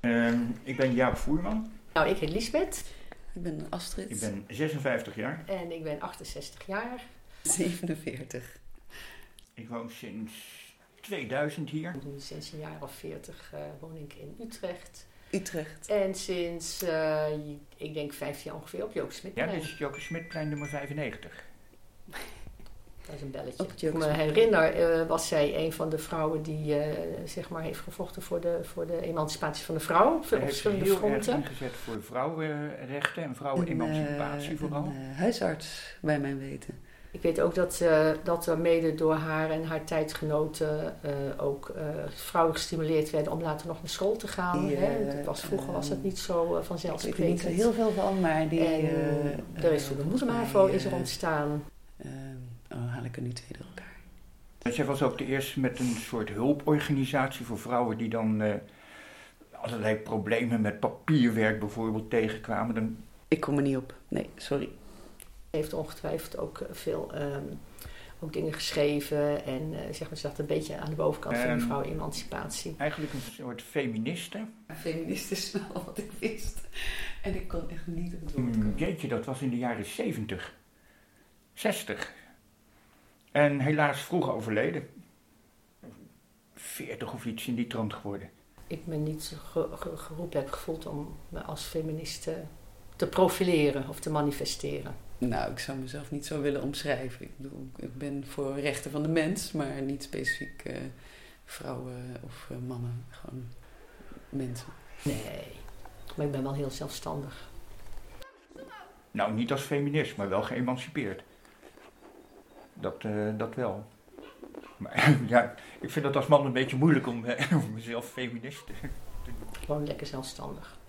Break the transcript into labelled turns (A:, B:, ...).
A: Ehm, ik ben Jaap Voerman.
B: Nou, ik heet Lisbeth
C: Ik ben Astrid,
A: Ik ben 56 jaar.
B: en ik ben 68 jaar.
C: 47.
A: Ik woon sinds 2000 hier.
B: Nu Sinds een jaar of 40 eh, woon ik in Utrecht.
C: Utrecht.
B: En sinds, eh, ik denk 15 jaar ongeveer, op Joop
A: Ja, dus
B: Smitplein.
A: dit is Joke Smitplein nummer 95.
B: Dat is een belletje.
C: Op het Joop
B: ik me
C: Smitplein.
B: herinner, eh, was zij een van de vrouwen die eh, zeg maar heeft gevochten voor de, voor de emancipatie van de vrouw. Op
A: Hij heeft zich
B: verschillende
A: heel erg
B: fronten.
A: ingezet voor vrouwenrechten en
C: Een, eh,
A: vrouwenemancipatie vooral.
C: Een eh, huisarts, bij mijn weten.
B: Ik weet ook dat, eh, dat er mede door haar en haar tijdgenoten eh, ook eh, vrouwen gestimuleerd werden om later nog naar school te gaan.
C: Die,
B: hè.
C: eh,
B: Dat was, vroeger
C: ehm,
B: was dat niet zo eh,
C: Ik weet er niet
B: vanzelfsprekend.
C: zo heel veel van, maar die...
B: en
C: eh,
B: er
C: eh,
B: is toen de
C: volgens mij,
B: moedermavo is er
C: eh,
B: ontstaan.
C: ehm, oh, haal ik er nu twee door elkaar.
B: eh,
A: Zij was ook de eerste met een soort hulporganisatie voor vrouwen die dan eh, allerlei problemen met papierwerk bijvoorbeeld tegenkwamen. Dan
C: Ik kom er niet op. Nee, sorry.
B: heeft ongetwijfeld ook eh, veel ehm, ook dingen geschreven. En eh, zeg maar, ze zat een beetje aan de bovenkant van
A: Ehm.
B: die vrouwenemancipatie.
A: eigenlijk een soort feministe.
C: Feminist is wel wat ik wist. En ik kon echt niet op het
A: Hmm, Jeetje, dat was in de jaren 70, 60. En helaas vroeg overleden. 40 of iets in die trant geworden.
B: Ik me niet ge- ge- geroepen heb gevoeld om me als feminist eh, te profileren of te manifesteren.
C: Nou, ik zou mezelf niet zo willen omschrijven. Ik bedoel, ik ben voor rechten van de mens, maar niet specifiek eh, vrouwen of eh, mannen. Gewoon mensen.
B: Nee, maar ik ben wel heel zelfstandig.
A: Nou, niet als feminist, maar wel geëmancipeerd. Dat, eh, dat wel. Maar ja, ik vind dat als man een beetje moeilijk om, eh, om mezelf feminist te
B: Gewoon lekker zelfstandig.